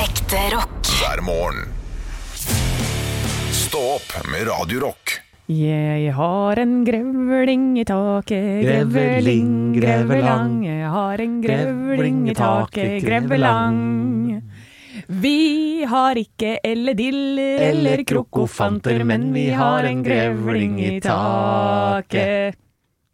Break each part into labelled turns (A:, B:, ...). A: Ekte rock.
B: hver morgen. Stå opp med Radio Rock.
C: Jeg har en grevling i taket, grevling,
D: Grevling,
C: grevelang.
D: grevelang.
C: Jeg har en grevling i taket, grevelang. Vi har ikke ellediller eller
D: Eller
C: krokofanter, men vi har en grevling i taket.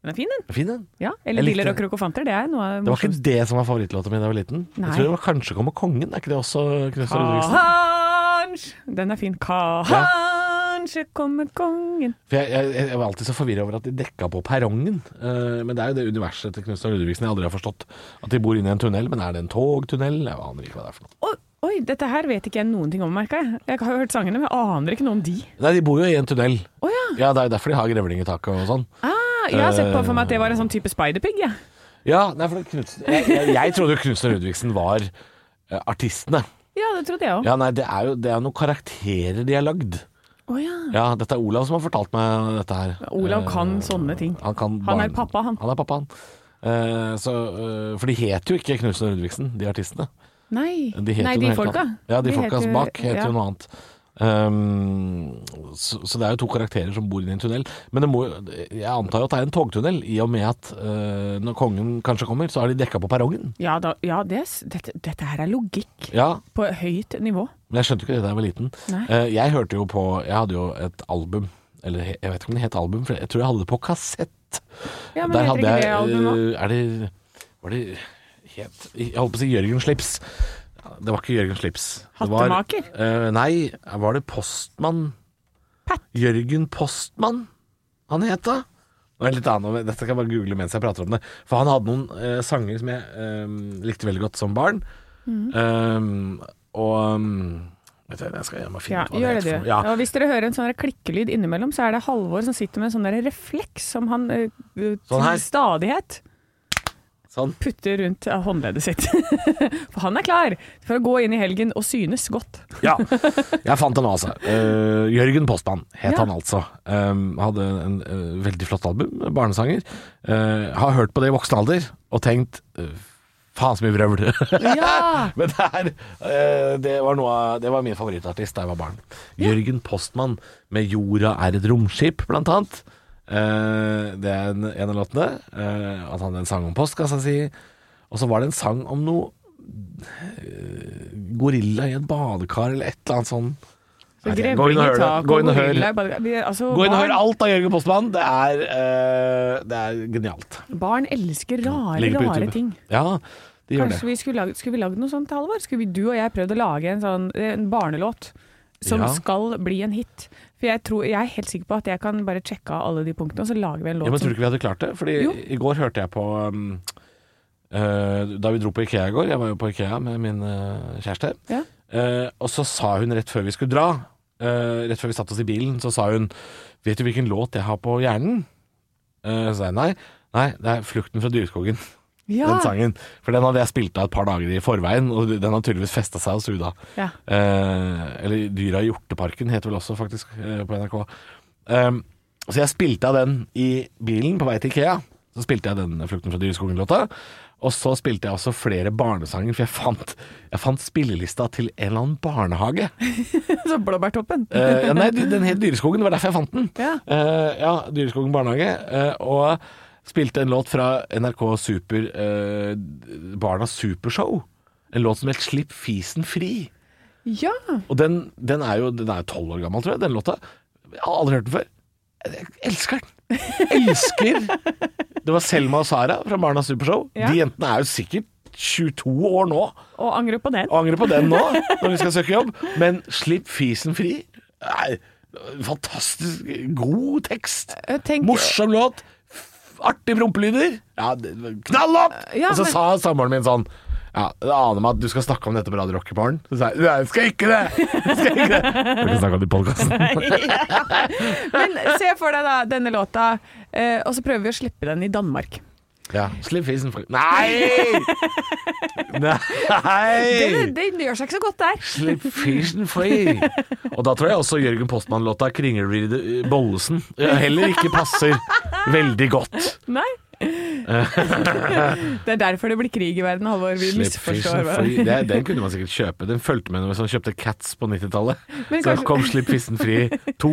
C: Den er fin, den.
D: Fin den.
C: Ja,
D: Jeg likte
C: Ellediller og
D: den.
C: krokofanter, det er noe av det
D: Det var ikke
C: morsomste.
D: det som var favorittlåten min da jeg var liten.
C: Nei.
D: Jeg tror det var kanskje kommer kongen. Er ikke det også Knøstad Ludvigsen?
C: Kanskje Den er fin. Kanskje kommer kongen
D: For jeg, jeg, jeg var alltid så forvirra over at de dekka på perrongen. Eh, men det er jo det universet til Knøstad Ludvigsen jeg aldri har forstått. At de bor inne i en tunnel. Men er det en togtunnel? Jeg aner ikke hva det er for noe.
C: Oi, Oi, dette her vet ikke jeg noen ting om, merka jeg. Jeg har hørt sangene, men jeg aner ikke noe om de.
D: Nei, de bor jo i en tunnel.
C: Å ja.
D: Ja, det er jo derfor de har grevling i taket og sånn.
C: Ah, jeg har sett
D: Eh.
C: på for meg at det var en sånn type spiderpig, jeg.
D: Ja, nei, for det, Knudsen, jeg, jeg, jeg trodde jo Knutsen og Ludvigsen var eh, artistene.
C: Ja. det trodde jeg òg.
D: Ja, nei, det er jo det er noen karakterer de har lagd.
C: Å ja.
D: Ja, dette er Olav som har fortalt meg dette her.
C: Olav
D: Eh,
C: kan sånne ting.
D: Han, kan
C: Han
D: barn-
C: er pappa, han.
D: Han er pappa, han. Eh, så, eh, for de heter jo ikke Knutsen og Ludvigsen, de artistene.
C: Nei,
D: De heter
C: Nei
D: jo
C: de
D: noe helt
C: folka.
D: annet. Ja, de, folka
C: heter-
D: bak heter
C: ja.
D: jo noe annet. Um, så, så det er jo to karakterer som bor inne i en tunnel. Men det må, jo- jeg antar jo at det er en togtunnel, i og med at eh, når kongen kanskje kommer, så er de dekka på perrongen.
C: Ja, da, ja det, er s- dette, dette her er logikk
D: Ja,
C: på høyt nivå.
D: Men jeg skjønte jo ikke det da jeg var liten.
C: Nei.
D: Eh, Jeg hørte jo på Jeg hadde jo et album, eller he- jeg vet ikke om det het album, for jeg tror jeg hadde det på kassett.
C: Ja, men heter ikke det albumet òg?
D: eh, Er det Var det het Jeg holdt på å si Jørgen Slips. Det var ikke Jørgen Slips. Det var-
C: Hattemaker?
D: eh, nei, var det Postmann?
C: Pat.
D: Jørgen Postmann han het da? Det var litt annet, dette kan jeg bare google mens jeg prater om det. For han hadde noen eh, sanger som jeg eh, likte veldig godt som barn.
C: Mm.
D: Eh, og um, vet du, jeg skal gjøre meg finne
C: Ja,
D: ut hva
C: gjør
D: heter
C: det, du.
D: for noe. Ja.
C: Og hvis dere hører en sånn der klikkelyd innimellom, så er det Halvor som sitter med en sånn der refleks som han eh,
D: her.
C: til stadighet
D: Sånn.
C: putter rundt eh, håndleddet sitt. For han er klar for å gå inn i helgen og synes godt.
D: Ja, jeg fant den altså. Eh, Jørgen Postmann het
C: Ja.
D: han altså. Um, hadde en eh, veldig flott album, barnesanger. Eh, har hørt på det i voksen alder og tenkt eh, faen så mye vrøvl.
C: Ja!
D: Men det, er, eh, det, var noe, av- det var min favorittartist da jeg var barn. Jørgen Postmann med 'Jorda er et romskip', blant annet. Eh, det er en, en av låtene. Eh, at han hadde en sang om postkassa si. Og så var det en sang om noe eh, gorilla i et badekar eller et eller annet sånn. Nei,
C: Grevling
D: Gå inn og
C: i
D: hør det.
C: tak
D: Gå inn og hør.
C: gorilla i badekar. Vi- Altså,
D: Gå inn og hør
C: barn,
D: alt av Jørgen Postmann. Det er, eh, det er genialt.
C: barn elsker rare,
D: Ligger på
C: rare
D: YouTube.
C: ting.
D: Ja, de gjør det.
C: Kanskje vi skulle, lagd, skulle vi lagd noe sånt, Halvor? Skulle vi, du og jeg prøvd å lage en sånn en barnelåt som
D: Ja.
C: skal bli en hit? For jeg, tror, jeg er helt sikker på at jeg kan bare sjekke av alle de punktene, og så lager vi en
D: Ja,
C: låt
D: men tror du
C: som
D: ikke vi hadde klart det? Fordi
C: Jo.
D: i går hørte jeg på um, eh, Da vi dro på Ikea i går Jeg var jo på Ikea med min eh, kjæreste
C: Ja.
D: Eh, Og så sa hun rett før vi skulle dra eh, Rett før vi satt oss i bilen Så sa hun Vet du hvilken låt jeg har på hjernen? Eh, så sa jeg nei Nei, det er Flukten fra dyreskogen
C: ja.
D: Den sangen For den hadde jeg spilt av et par dager i forveien Og den har tydeligvis festet seg hos Uda
C: Ja.
D: Eh, eller Dyra i Hjorteparken heter vel også faktisk eh, på NRK. Um, så jeg spilte av den i bilen på vei til Ikea. Så spilte jeg den Flukten fra dyreskogen-låta. Og så spilte jeg også flere barnesanger, for jeg fant, jeg fant spillelista til en eller annen barnehage.
C: Så blåbærtoppen.
D: Eh, ja, nei, den het Dyreskogen, det var derfor jeg fant den.
C: Ja.
D: Eh, ja Dyreskogen barnehage. eh, og spilte en låt fra NRK Super eh, Barnas Supershow. En låt som het 'Slipp fisen fri'.
C: Ja.
D: Og den, den er jo Den er jo tolv år gammel, tror jeg, den låta. Jeg har aldri hørt den før. Jeg elsker den! Elsker! Det var Selma og Sara fra Barnas Supershow.
C: Ja.
D: De jentene er jo sikkert 22 år nå, og
C: Og angre på den.
D: angrer på den nå når de skal søke jobb. Men 'Slipp fisen fri' er fantastisk god tekst.
C: Jeg tenker-
D: Morsom låt. F- Artige prompelyder. Ja, det- knall opp!
C: Ja,
D: og så
C: men-
D: sa samboeren min sånn ja, Det aner meg at du skal snakke om dette på Radio Rock i morgen. Så sa jeg nei, jeg skal ikke det! Jeg skal ikke det Jeg kan snakke om det i podkasten.
C: Men se for deg da denne låta, eh, og så prøver vi å slippe den i Danmark.
D: Ja. Slipp fisen fri Nei! Nei!
C: Det, det gjør seg ikke så godt der.
D: Slipp fisen fri. Og da tror jeg også Jørgen Postmann-låta eh, 'Kringelvride Bollesen' heller ikke passer veldig godt.
C: Nei. Det er derfor det blir krig i verden, Halvor. Vi
D: Slipp fissen
C: misforstår
D: fri.
C: hverandre.
D: Det, den kunne man sikkert kjøpe. Den fulgte med når man kjøpte Cats på 90-tallet.
C: Men
D: Så
C: kanskje-
D: kom Slipp fissen fri 2.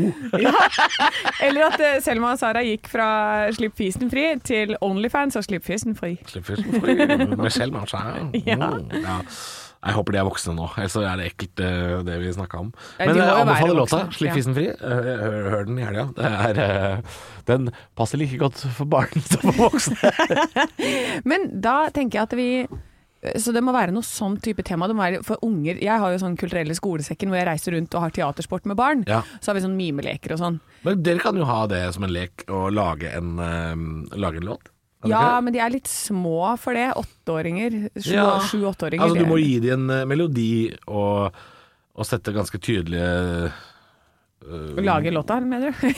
C: Eller at eh, Selma og Sara gikk fra 'Slipp fisen fri' til Onlyfans og 'Slipp fisen fri'.
D: Slipp fissen fri med Selma Skjær.
C: Ja.
D: Mm, ja. Jeg håper de er voksne nå, ellers så er det ekkelt eh, det vi snakka om.
C: Ja,
D: Men
C: de må
D: jeg
C: jo
D: anbefaler
C: være
D: låta
C: voksne,
D: 'Slipp
C: ja.
D: fissen fri'. Eh, Hør, hør den i helga. Det er, eh, Den passer like godt for barn som for voksne.
C: Men da tenker jeg at vi så det må være noe sånn type tema. Det må være for unger Jeg har jo sånn kulturelle skolesekken hvor jeg reiser rundt og har teatersport med barn.
D: Ja.
C: Så har vi sånn mimeleker og sånn.
D: Men dere kan jo ha det som en lek å lage en, eh, lage en låt. Kan dere ikke
C: Ja,
D: det?
C: men de er litt små for det. Åtteåringer. Sju-
D: Ja.
C: Sju-åtteåringer.
D: Altså, du
C: det-
D: må gi dem en eh, melodi og, og sette ganske tydelige
C: Lage låta, mener du?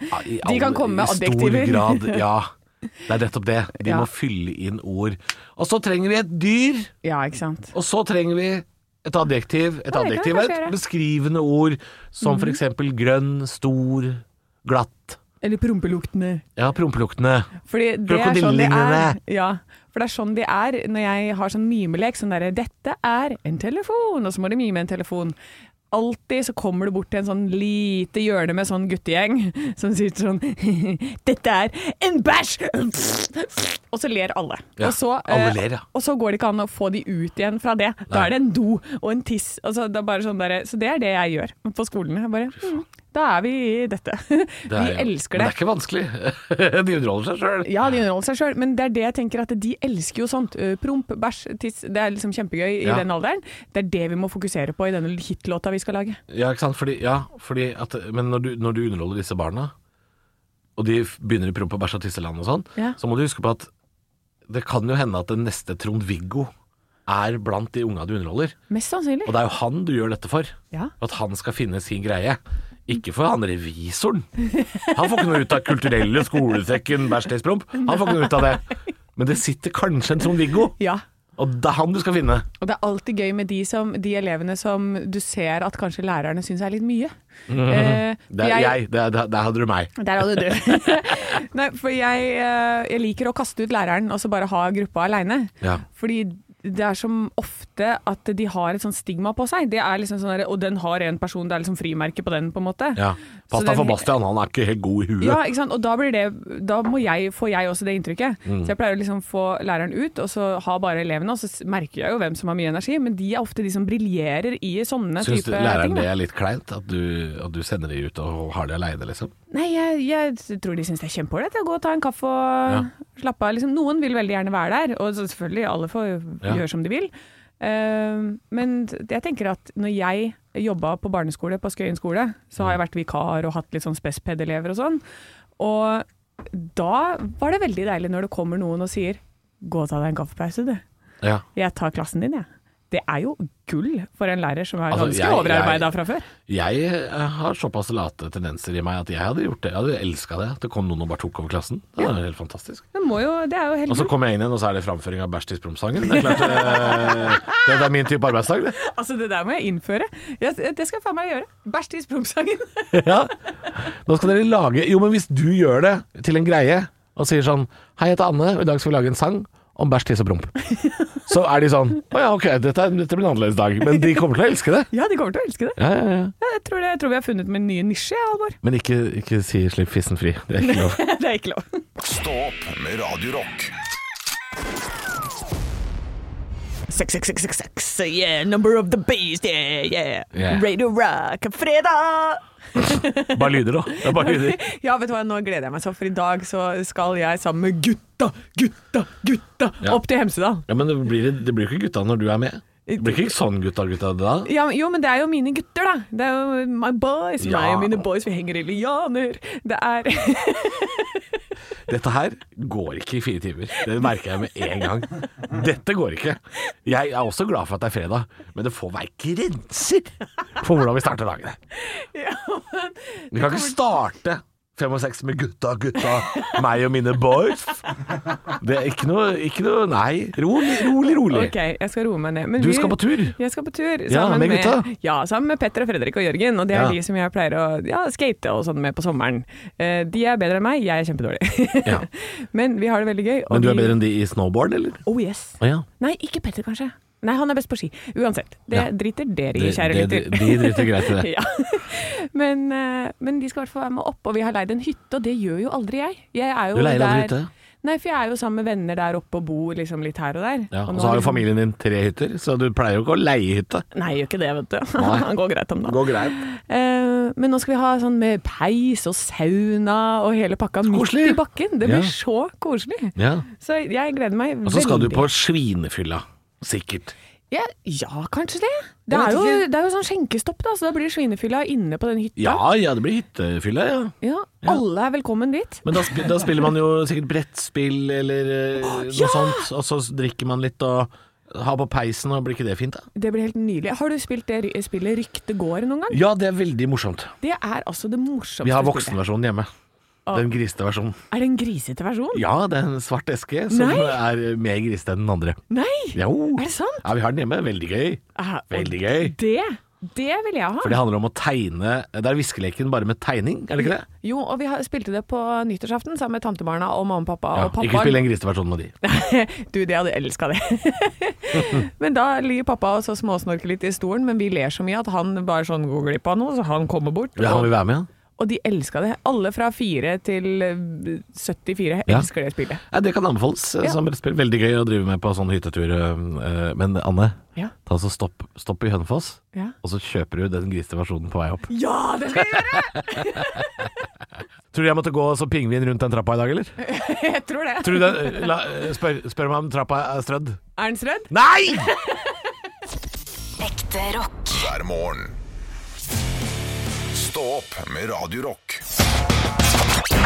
D: ja, i
C: De kan
D: all-
C: komme med
D: i stor
C: adjektiver.
D: Grad, ja, det er nettopp det. De
C: Ja.
D: må fylle inn ord. Og så trenger vi et dyr,
C: ja, ikke sant.
D: og så trenger vi et adjektiv. Et
C: Ja, det kan vi
D: adjektiv er
C: kanskje
D: et
C: gjøre. Mhm.
D: beskrivende ord, som for eksempel grønn, stor, glatt.
C: Eller prompeluktene.
D: Ja, prompeluktende.
C: Fordi det er sånn de er.
D: Krokodillelignende.
C: Ja, for det er sånn de er når jeg har sånn mimelek. Sånn derre 'Dette er en telefon', og så må de mime en telefon. Alltid så kommer du bort til en sånn lite hjørne med sånn guttegjeng som sier sånn 'Dette er en bæsj!' Og så ler alle.
D: Ja,
C: og, så,
D: alle
C: eh,
D: ler, ja.
C: og så går det ikke an å få de ut igjen fra det. Da
D: Nei.
C: er det en do og en tiss. Altså, det er bare sånn derre- så det er det jeg gjør på skolen. Jeg bare, mm, da er vi i dette.
D: Det er
C: vi
D: jo-
C: elsker
D: Men
C: det.
D: det er ikke vanskelig. de underholder seg sjøl.
C: Ja, de underholder seg sjøl, men det er det jeg tenker at de elsker jo sånt. Eh, Promp, bæsj, tiss. Det er liksom kjempegøy i
D: Ja.
C: den alderen. Det er det vi må fokusere på i denne hitlåta vi skal lage.
D: Ja, ikke sant? Fordi, ja, fordi at, men når du, når du underholder disse barna, og de f- begynner i promp og bæsj og tisseland og sånn,
C: Ja.
D: så må du huske på at det kan jo hende at den neste Trond-Viggo er blant de unga du underholder.
C: Mest sannsynlig.
D: Og det er jo han du gjør dette for.
C: Ja.
D: At han skal finne sin greie. Ikke for han revisoren. Han får ikke noe ut av kulturelle skolesekken bæsj, tiss, promp. Han får ikke noe ut av det. Men det sitter kanskje en Trond-Viggo,
C: Ja.
D: og det er han du skal finne.
C: Og det er alltid gøy med de, som, de elevene som du ser at kanskje lærerne syns er litt mye. Eh,
D: Det er jeg. Det er, der hadde du meg.
C: Der hadde du. Nei, for jeg, eh, jeg liker å kaste ut læreren og så bare ha gruppa aleine.
D: Ja.
C: Fordi det er som ofte at de har et sånt stigma på seg. Det er liksom sånn der, Og den har en person, det er liksom frimerke på den, på en måte.
D: Ja. Pass
C: Så den-
D: deg for Bastian, han er ikke helt god i huet.
C: Ja, ikke sant? og da, blir det, da må jeg, får jeg også det inntrykket. Så jeg pleier å liksom få læreren ut, og så ha bare elevene. Og så s- merker jeg jo hvem som har mye energi, men de er ofte de som briljerer i sånne
D: Syns
C: type
D: læreren
C: ting.
D: det
C: da.
D: er litt kleint? At du, at du sender de ut og har de aleine, liksom?
C: Nei, jeg, jeg tror de syns det er kjempeålreit å gå og ta en kaffe og
D: Ja.
C: slappe av. Liksom, noen vil veldig gjerne være der, og så selvfølgelig alle får
D: Ja.
C: gjøre som de vil. Ehm, men jeg tenker at når jeg jobba på barneskole på Skøyen skole, så har jeg vært vikar og hatt litt sånn spesped-elever og sånn. Og da var det veldig deilig når det kommer noen og sier 'gå og ta deg en kaffepause, du'.
D: Ja.
C: Jeg tar klassen din, jeg. Det er jo gull for en lærer som er
D: Altså,
C: ganske
D: jeg- jeg-
C: overarbeida fra før.
D: Jeg eh, har såpass late tendenser i meg at jeg hadde gjort det. Jeg hadde elska det. At det kom noen og bare tok over klassen. Det var helt fantastisk.
C: Det, må jo, det er jo helt
D: Og så
C: gull.
D: kommer jeg inn igjen, og så er det framføring av Bæsj tiss-promp-sangen. Det er klart eh, Det er min type arbeidsdag, det.
C: Altså, det der må jeg innføre. Jeg, det skal jeg faen meg gjøre. Bæsj tiss promp-sangen.
D: Ja. Nå skal dere lage Jo, men hvis du gjør det til en greie og sier sånn Hei, jeg heter Anne, og i dag skal vi lage en sang om bæsj, tiss og promp. Så er de sånn Å ja, ok, dette, er- dette blir en annerledes dag. Men de kommer til å elske det.
C: Ja, de kommer til å elske det.
D: Ja, ja, ja.
C: Ja, Jeg tror, det, jeg tror vi har funnet min nye nisje, jeg, Halvor.
D: Men ikke, ikke si 'slipp fissen fri'. Det er ikke lov.
C: Det er ikke lov.
B: Stå opp med Radio Rock.
C: Sex, sex, sex, sex, sex, yeah, number of the beast, yeah, yeah.
D: Yeah.
C: Radio Rock, fredag!
D: Bare lyder, da. Det er bare lyder.
C: Ja, vet du hva, nå gleder jeg meg så, for i dag så skal jeg sammen med gutta, gutta, gutta
D: Ja.
C: opp til Hemsedal.
D: Ja, men det blir, det blir jo ikke gutta når du er med. Det blir ikke sånn gutta, gutta da.
C: Ja, jo, men det er jo mine gutter, da. Det er jo my boys,
D: Ja.
C: meg og mine boys, vi henger i lianer. Det er
D: Dette her går ikke i fire timer. Det merker jeg med en gang. Dette går ikke. Jeg er også glad for at det er fredag, men det får være grenser for hvordan vi starter dagene.
C: ja, men-
D: Vi kan ikke starte Fem og seks med gutta, gutta, meg og mine boys. Det er ikke noe, ikke noe Nei. Rolig, rolig, rolig.
C: Ok, jeg skal roe meg ned. Men
D: Du
C: vi-
D: skal på tur.
C: Jeg skal på tur sammen
D: Ja, med gutta.
C: ja, sammen med Petter og Fredrik og Jørgen. Og det er
D: Ja.
C: de som jeg pleier å ja, skate og sånn med på sommeren. Eh, de er bedre enn meg, jeg er kjempedårlig.
D: Ja.
C: Men vi har det veldig gøy. og
D: Men du er
C: vi-
D: bedre enn de i snowboard, eller?
C: Oh yes.
D: Å ja.
C: Nei, ikke Petter kanskje. Nei, han er best på ski. Uansett. Det
D: Ja.
C: driter dere i,
D: Det-
C: kjære lytter.
D: det- de driter greit i det.
C: ja. men, eh, men de skal i hvert fall være med opp, og vi har leid en hytte, og det gjør jo aldri jeg. jeg er jo
D: Du leier aldri
C: der-
D: hytte?
C: Nei, for jeg er jo sammen med venner der oppe og bor liksom litt her og der.
D: Ja, og
C: nå
D: så har jo
C: liksom-
D: familien din tre hytter, så du pleier jo ikke å leie hytte.
C: Nei, gjør ikke det, vet du.
D: Nei.
C: Han går greit om
D: Det
C: da.
D: går greit.
C: Eh, men nå skal vi ha sånn med peis og sauna og hele pakka
D: koselig.
C: midt i bakken. Det blir
D: Ja.
C: så koselig.
D: Ja.
C: Så jeg gleder meg veldig.
D: Og så skal du på svinefylla. Sikkert.
C: Ja, ja kanskje det. Det
D: Jeg
C: er,
D: vet
C: jo,
D: ikke.
C: det er jo sånn skjenkestopp, da, så da blir det svinefylla inne på den hytta.
D: Ja, ja, det blir hyttefylle, ja.
C: Ja, alle er velkommen dit.
D: Men da, sp- da spiller man jo sikkert brettspill eller eh, noe
C: ja!
D: sånt, og så drikker man litt og har på peisen, og blir ikke det fint, da?
C: Det blir helt nydelig. Har du spilt det ry- spillet Rykte går noen gang?
D: Ja, det er veldig morsomt.
C: Det er altså det morsomste
D: Vi har
C: spillet.
D: voksenversjonen hjemme. Den grisete versjonen.
C: Er det en grisete versjon?
D: Ja, det er en svart eske som
C: Nei!
D: er mer grisete enn den andre.
C: Nei!
D: Jo.
C: Er det sant?
D: Ja, vi har den hjemme. Veldig gøy.
C: Ah, og
D: Veldig gøy.
C: Det, det vil jeg ha.
D: For det handler om å tegne Det er viskeleken bare med tegning, er det ikke det?
C: Jo, og vi har, spilte det på nyttårsaften sammen med tantebarna og mamma og pappa
D: Ja,
C: og pappaen.
D: ikke spill den griseversjonen med de.
C: Du, de hadde elska det. men da ligger pappa og så småsnorker litt i stolen, men vi ler så mye at han bare sånn går glipp av noe, så han kommer bort.
D: Ja, han vil
C: og,
D: være med, ja.
C: og de elska det. Alle fra fire til eh, 74
D: Ja.
C: elsker det spillet.
D: ja det kan anbefales eh,
C: Ja.
D: som brettspill. Veldig gøy å drive med på sånn hyttetur. eh, eh, Men Anne,
C: Ja.
D: ta så stopp, stopp i Hønefoss,
C: Ja.
D: og så kjøper du den grisete versjonen på vei opp.
C: ja, det skal jeg gjøre!
D: Tror du jeg måtte gå som pingvin rundt den trappa i dag, eller?
C: Jeg tror det.
D: Tror du den, la, eh, spør, spør meg om trappa er strødd.
C: Er den strødd?
D: Nei!
A: Ekte rock.
B: hver morgen. Stå opp med Radio Rock.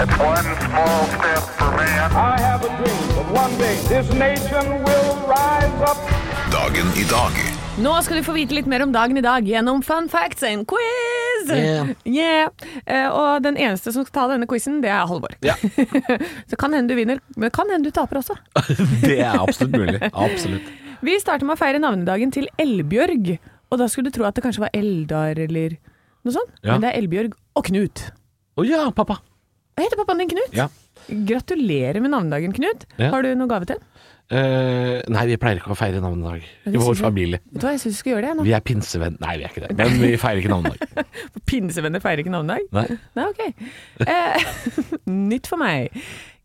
E: It's one small step for man.
F: I have a dream that one day this nation will rise up.
B: Dagen i dag
C: Nå skal du få vite litt mer om dagen i dag gjennom fun facts and quiz!
D: Yeah.
C: Yeah. Eh, og den eneste som skal ta denne quizen, det er Halvor.
D: Ja.
C: så kan hende du vinner, men kan hende du taper også.
D: Det er absolutt mulig. Absolutt.
C: Vi starter med å feire navnedagen til Elbjørg. Og da skulle du tro at det kanskje var Eldar eller noe sånt.
D: Ja.
C: Men det er Elbjørg og Knut.
D: Å ja, pappa.
C: Hva heter pappaen din, Knut?
D: Ja.
C: Gratulerer med navnedagen, Knut.
D: Ja.
C: Har du noe gave til?
D: Eh, nei, vi pleier ikke å feire navnedag
C: Ja,
D: i
C: det
D: vår
C: synes jeg.
D: familie.
C: Vet du hva, jeg syns du skal gjøre det. jeg,
D: Vi er pinsevenn... Nei, vi er ikke det. Men vi feirer ikke navnedag.
C: Nå. Pinsevenner feirer ikke navnedag.
D: Nei.
C: Nei, ok. Eh, nytt for meg.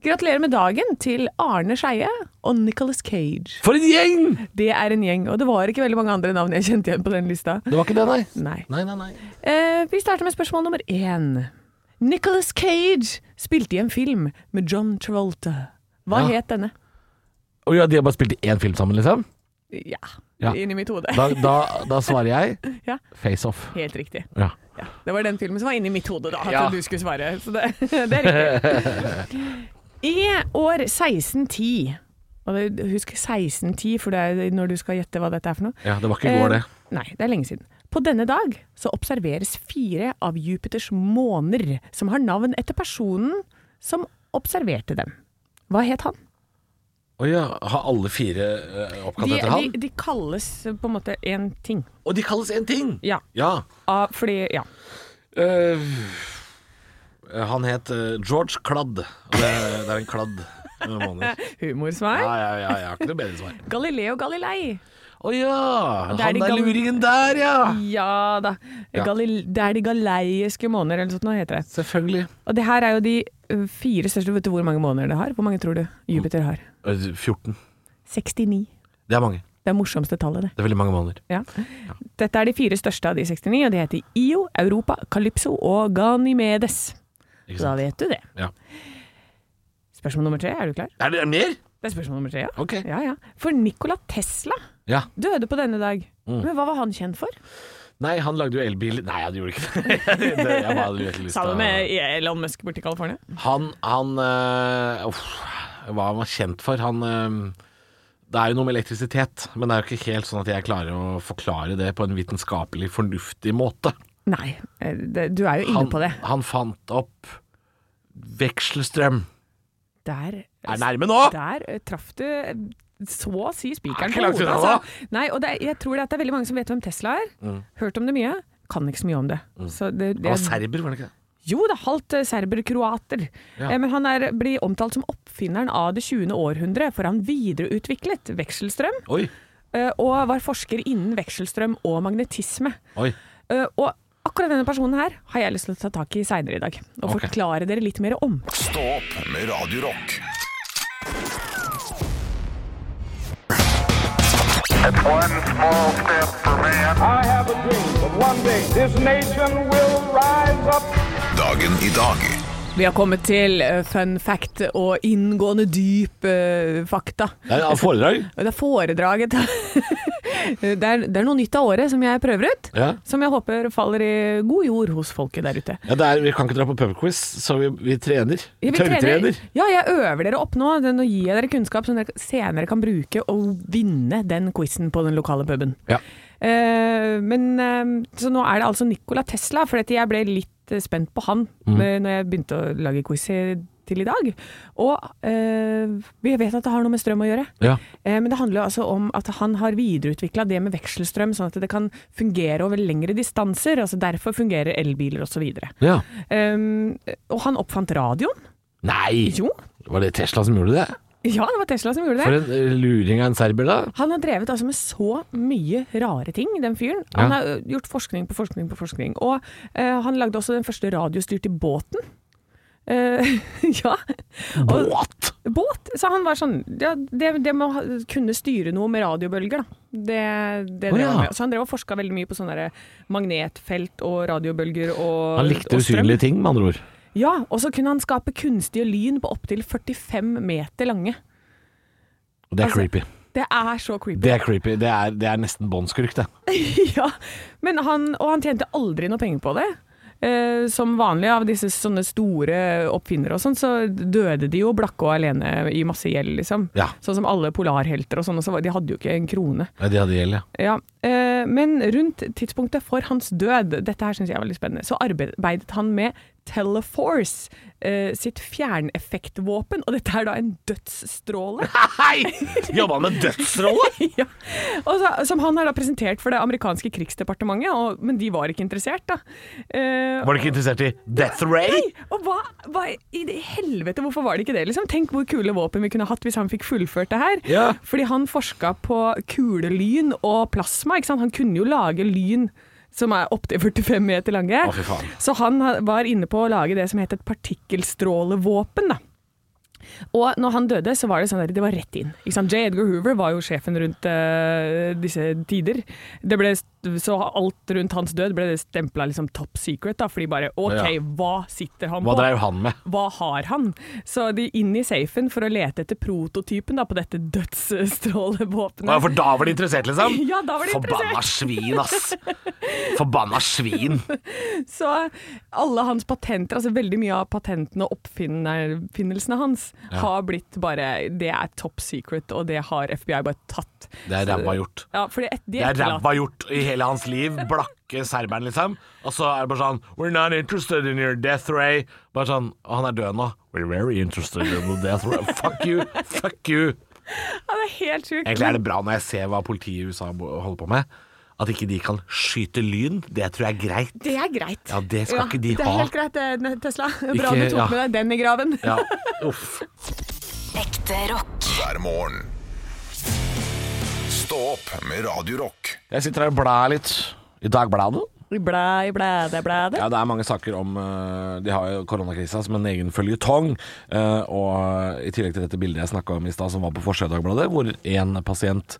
C: Gratulerer med dagen til Arne Skeie og Nicholas Cage.
D: For en gjeng!
C: Det er en gjeng, og det var ikke veldig mange andre navn jeg kjente igjen på den lista.
D: Det var ikke det, nei.
C: Nei.
D: Nei, nei, nei.
C: Eh, vi starter med spørsmål nummer én. Nicholas Cage spilte i en film med John Travolta. Hva
D: Ja.
C: het denne?
D: Å ja, de har bare spilt i én film sammen, liksom?
C: Ja,
D: Ja.
C: inni mitt hode.
D: Da, da, da svarer jeg
C: Ja.
D: Face Off.
C: Helt riktig.
D: Ja.
C: Ja. Det var den filmen som var inni mitt hode da, at
D: Ja.
C: du skulle svare. Så det, det er riktig. I år 1610 og det- Husk 1610, for det er når du skal gjette hva dette er for noe.
D: ja, det var ikke i går, det.
C: Eh, Nei, det er lenge siden. På denne dag så observeres fire av Jupiters måner, som har navn etter personen som observerte dem. Hva het han?
D: Å ja, har alle fire eh,
C: De,
D: oppkalt etter
C: de,
D: han?
C: de kalles på en måte én ting.
D: Og de kalles én ting!
C: Ja.
D: Ja.
C: Av, fordi Ja.
D: Eh, han het eh, George Kladd. Og det, det er en kladd med måneder. Ja,
C: Humorsvar.
D: ja, ja, jeg har ikke noe bedre svar.
C: Galileo Galilei.
D: Å ja!
C: Det er
D: Han
C: de
D: der
C: gamle- Mm.
D: luringen der, ja!
C: Ja da.
D: Ja.
C: Galil det er de galeiske måner, eller noe sånt nå heter det.
D: Selvfølgelig.
C: Og det her er jo de ø, fire største Vet du hvor mange måneder det har? Hvor mange tror du Jupiter har?
D: Eh, 14.
C: 69.
D: Det er mange.
C: Det er morsomste tallet, det.
D: Det er veldig mange måneder.
C: Ja. Dette er de fire største av de 69, og de heter IO, Europa, Calypso og Ganymedes.
D: Ikke
C: Så da
D: sant?
C: vet du det.
D: Ja.
C: Spørsmål nummer tre, er du klar?
D: Er det er det mer?
C: Det er spørsmål nummer tre, ja.
D: Ok.
C: Ja, ja. For Nikola Tesla
D: Ja.
C: døde på denne dag. Men hva var han kjent for?
D: Nei, han lagde jo elbil Nei, han gjorde ikke det. det. Jeg bare hadde litt lyst til
C: Sammen med
D: å
C: Elon Musk borte i California.
D: Han, han eh, uff, Hva han var kjent for? Han eh, Det er jo noe med elektrisitet, men det er jo ikke helt sånn at jeg klarer å forklare det på en vitenskapelig fornuftig måte.
C: Nei, eh, det, du er jo inne
D: Han,
C: på det.
D: han fant opp Vekselstrøm.
C: Der,
D: Er nærme nå!
C: der eh, traff du eh, så å si
D: Er
C: spikeren på
D: ikke langt
C: hodet.
D: unna, da. Mm.
C: Altså. Nei, og det, er- jeg tror det, at det er veldig mange som vet hvem Tesla er. Hørt om det mye. Kan ikke så mye om det. Så det, det
D: Han var serber, var han ikke det?
C: jo, det er halvt eh, serber-kroater.
D: Ja.
C: Eh, Men han er, blir omtalt som oppfinneren av det 20. århundre, for han videreutviklet vekselstrøm,
D: Oi,
C: eh, og var forsker innen vekselstrøm og magnetisme.
D: oi.
C: Eh, Og akkurat denne personen her har jeg lyst til å ta tak i seinere i dag, og
D: Ok.
C: forklare dere litt mer om.
B: Stå opp med Radio Rock.
E: It's one small step for man,
F: I have a dream that one day this nation will rise up.
B: Dagen i dag
C: Vi har kommet til eh, fun fact og inngående dyp eh, fakta.
D: Det er et foredrag.
C: Og Det er foredraget til det, er, det er noe nytt av året som jeg prøver ut.
D: Ja.
C: Som jeg håper faller i god jord hos folket der ute.
D: Ja, det er, vi kan ikke dra på pubquiz, så vi, vi trener.
C: Ja, vi
D: Tørrtrener.
C: trener- Ja, jeg øver dere opp nå. Det- Nå gir jeg dere kunnskap som dere senere kan bruke og vinne den quizen på den lokale puben.
D: Ja.
C: Eh, men eh, Så nå er det altså Nikola Tesla, for jeg ble litt eh, spent på han eh, når jeg begynte å lage quiz i- til i dag. Og eh, vi vet at det har noe med strøm å gjøre.
D: Ja.
C: Eh, Men det handler jo altså om at han har videreutvikla det med vekselstrøm, sånn at det kan fungere over lengre distanser. altså Derfor fungerer elbiler osv.
D: ja.
C: Um, og han oppfant radioen.
D: Nei!
C: Jo,
D: Var det Tesla som gjorde det?
C: ja, det var Tesla som gjorde det.
D: For en eh, luring av en serber, da.
C: Han har drevet altså med så mye rare ting, den fyren. Han har ø, gjort forskning på forskning på forskning. Og eh, han lagde også den første radiostyrte båten. Eh, ja. Og,
D: Båt!
C: båt! Så han var sånn ja, det, det med å ha- kunne styre noe med radiobølger, da. Det, det
D: Å,
C: drev
D: ja.
C: han med. Så han drev og forska veldig mye på sånne der magnetfelt og radiobølger og
D: Han likte
C: og strøm.
D: usynlige ting, med andre ord.
C: Ja, og så kunne han skape kunstige lyn på opptil 45 meter lange.
D: Og det er
C: Altså-
D: creepy.
C: Det er så creepy.
D: Det er creepy. Det er, det er nesten båndskurk, det.
C: Ja, men han, og han tjente aldri noe penger på det. Eh, som vanlig av disse sånne store oppfinnere og sånn, så døde de jo blakke og alene i masse gjeld, liksom.
D: Ja.
C: Sånn som alle polarhelter og sånn, og så var- de hadde jo ikke en krone.
D: Nei, de hadde gjeld, ja.
C: Ja, eh, men rundt tidspunktet for hans død, dette her syns jeg er veldig spennende, så arbeidet han med Teleforce, eh, sitt fjerneffektvåpen, og dette er da en dødsstråle.
D: Hei! Jobba med dødsrolle?
C: ja. og så, som han har da presentert for det amerikanske krigsdepartementet, og, men de var ikke interessert, da. Eh,
D: Var du ikke interessert i Death Ray?
C: nei, og hva, hva i det helvete, hvorfor var det ikke det? Liksom? Tenk hvor kule våpen vi kunne hatt hvis han fikk fullført det her.
D: Ja.
C: Fordi han forska på kulelyn og plasma. Ikke sant? Han kunne jo lage lyn som er opptil 45 meter lange.
D: Å, fy faen.
C: Så han ha- var inne på å lage det som het et partikkelstrålevåpen. da. Og når han døde, så var det sånn der, det var rett inn. Ikke sant? J. Edgar Hoover var jo sjefen rundt eh, disse tider. Det ble, st- så alt rundt hans død ble det stempla liksom top secret, da, fordi bare OK,
D: Ja.
C: hva sitter han
D: Hva
C: på?
D: dreiv han med?
C: Hva har han? Så de inn i safen for å lete etter prototypen da, på dette
D: Å,
C: dødsstrålevåpenet.
D: For da var de interessert, liksom?
C: Ja, da var de
D: Forbanna svin, ass. Forbanna svin.
C: Så alle hans patenter, altså veldig mye av patentene og oppfinnelsene hans, har blitt bare Det er top secret, og det har FBI bare tatt.
D: Det er ræva gjort.
C: Ja, fordi et, de
D: Det er
C: etterlater-
D: ræva gjort i hele hans liv. Blakke serberen, liksom. Og så er det bare sånn We're not interested in your death ray. Bare sånn «Å, Han er død nå. We're very interested in the death ray. Fuck you. Fuck you.
C: Ja, det er helt sjukt.
D: Egentlig er det bra når jeg ser hva politiet i USA holder på med. At ikke de kan skyte lyn. Det tror jeg er greit.
C: Det er greit.
D: Ja, det skal ikke de
C: Det er
D: ha.
C: helt greit, det, Tesla. Bra
D: Ikke-
C: du tok
D: ja.
C: med deg den i graven.
D: Ja, uff.
A: Ekte rock.
B: hver morgen. Stå opp med Radio Rock.
D: Jeg sitter her og blar litt i Dagbladet.
C: Blæ, blæ, det, blæ, det.
D: Ja, det er mange saker om eh, De har jo koronakrisa som en egen føljetong. eh, og i tillegg til dette bildet jeg snakka om i stad, som var på forsida av Dagbladet, hvor én pasient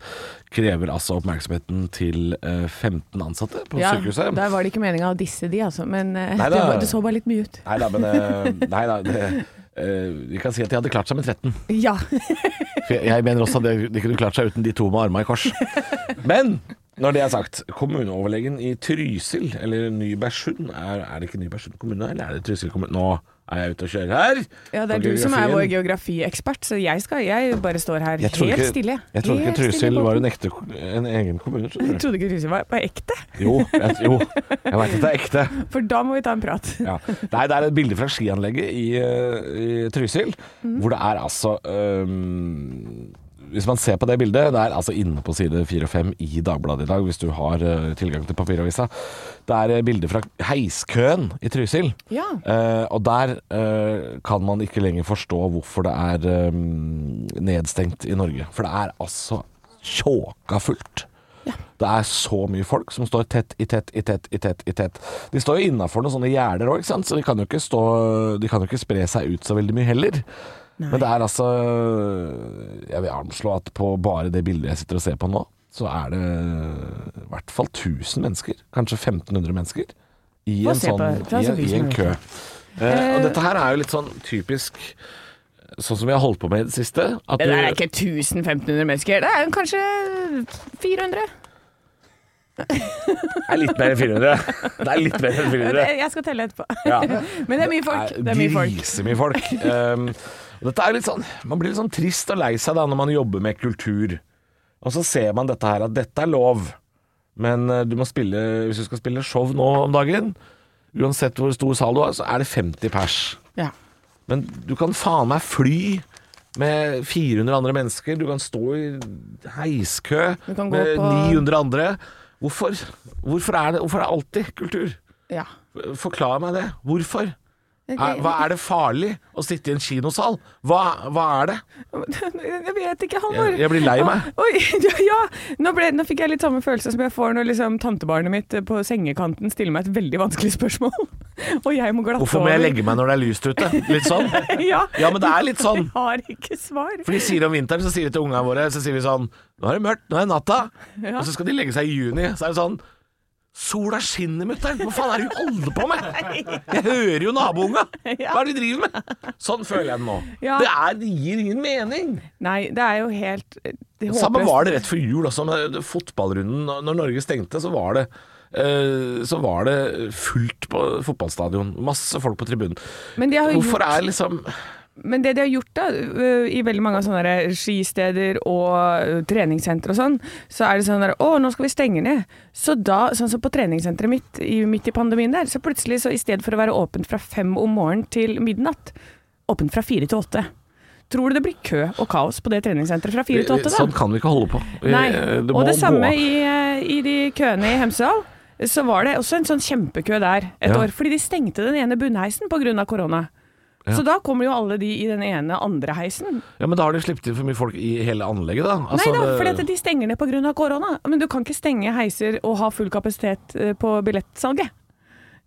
D: krever altså oppmerksomheten til eh, 15 ansatte på
C: Ja,
D: sykehuset.
C: der var det ikke meninga å disse de, altså, men eh,
D: Neida.
C: det, var- det så bare litt mye ut.
D: Nei da, men eh, Nei da. Det, eh, vi kan si at de hadde klart seg med 13.
C: Ja.
D: For jeg- jeg mener også at det- de kunne klart seg uten de to med armene i kors. Men når det er sagt, kommuneoverlegen i Trysil, eller Nybergsund er, er det ikke Nybergsund kommune, eller er det Trysil kommune? Nå Er jeg ute og kjører her?
C: Ja, Det
D: For
C: er du som er
D: geografien.
C: vår geografiekspert, så jeg, skal, jeg bare står her
D: Jeg trodde
C: helt
D: ikke-
C: stille.
D: Jeg trodde ikke
C: Helt stille i
D: Trysil var
C: båten.
D: en, ekte, ko- en egen kommune. skjønner
C: Jeg
D: du.
C: trodde ikke Trysil var på ekte,
D: Jo, jeg, jo, jeg veit at det er ekte.
C: for da må vi ta en prat.
D: Ja. Nei, det er et bilde fra skianlegget i, eh, i Trysil, hvor det er altså øhm, Hvis man ser på det bildet, det er altså inne på side 4 og 5 i Dagbladet i dag, hvis du har eh, tilgang til papiravisa. Det er eh, bilder fra heiskøen i Trysil.
C: Ja.
D: Eh, og der eh, kan man ikke lenger forstå hvorfor det er øhm, nedstengt i Norge. For det er altså tjåka fullt. Det er så mye folk som står tett i tett i tett i tett. i tett De står jo innafor noen sånne gjerder òg, så de kan, jo ikke stå, de kan jo ikke spre seg ut så veldig mye heller. Men det er altså Jeg vil anslå at på bare det bildet jeg sitter og ser på nå, så er det i hvert fall 1000 mennesker. Kanskje 1500 mennesker. I
C: Få
D: en,
C: se på-
D: sånn,
C: ta
D: i
C: så
D: en, i en
C: tusen
D: kø. Eh,
C: Eh,
D: og dette her er jo litt sånn typisk Sånn som vi har holdt på med i det siste. At
C: Det der er
D: du-
C: ikke 1500 mennesker, det er jo kanskje 400.
D: er litt mer enn 400. Det er litt mer enn 400.
C: Jeg skal telle etterpå.
D: Ja.
C: Men det er mye folk. Det er mye folk.
D: Grisemye folk. Um, og dette er litt sånn, man blir litt sånn trist og lei seg da når man jobber med kultur. Og så ser man dette her, at dette er lov. Men eh, du må spille, hvis du skal spille show nå om dagen, uansett hvor stor sal du har, så er det 50 pers.
C: Ja.
D: Men du kan faen meg fly med 400 andre mennesker. Du kan stå i heiskø
C: Du kan gå
D: med
C: på-
D: 900 andre. Hvorfor? Hvorfor er det hvorfor er det alltid kultur?
C: ja.
D: Forklar meg det. Hvorfor? Er,
C: Ok.
D: hva er det farlig å sitte i en kinosal? Hva, hva er det?
C: Jeg vet ikke, Halvor.
D: Jeg- jeg blir lei meg.
C: Oi, ja, ja. Nå, ble, nå fikk jeg litt samme følelse som jeg får når liksom, tantebarnet mitt eh, på sengekanten stiller meg et veldig vanskelig spørsmål, og jeg må glatte over.
D: Hvorfor må jeg legge meg når det er lyst ute? Litt sånn.
C: Ja,
D: Ja, men det er litt sånn.
C: jeg har ikke svar.
D: For de sier om vinteren, så sier de til ungene våre Så sier vi sånn Nå er det mørkt, nå er det natta. Og så skal de legge seg i juni. Så er det sånn Sola skinner, mutter'n. Hva faen er det du holder på med? Jeg hører jo nabounga. Hva er det de driver med? Sånn føler jeg det nå.
C: Ja.
D: Det, er, det gir ingen mening.
C: Nei, det er jo helt eh, det er
D: Samme
C: håpløst.
D: var det rett før jul også, med fotballrunden. Når- Når Norge stengte, så var det eh, så var det fullt på fotballstadion. Masse folk på tribunen.
C: Men de har jo
D: Hvorfor er liksom
C: Men det de har gjort da, øh, i veldig mange av sånne der skisteder og øh, treningssentre og sånn, så er det sånn der Å, nå skal vi stenge ned. Så da, sånn som på treningssenteret mitt i, midt i pandemien der, så plutselig, så i stedet for å være åpent fra fem om morgenen til midnatt, åpent fra fire til åtte. Tror du det blir kø og kaos på det treningssenteret fra fire til åtte, da?
D: Sånn kan vi ikke holde på. Vi-
C: Nei.
D: det må
C: og det
D: gå
C: samme
D: av.
C: i, eh, i de køene i Hemsedal. Så var det også en sånn kjempekø der et
D: Ja.
C: år, fordi de stengte den ene bunnheisen pga. korona. Så da kommer jo alle de i den ene andre heisen.
D: Ja, Men da har de sluppet inn for mye folk i hele anlegget, da.
C: Nei
D: Altså,
C: da,
D: det-
C: fordi at de stenger ned pga. korona. Men du kan ikke stenge heiser og ha full kapasitet eh, på billettsalget.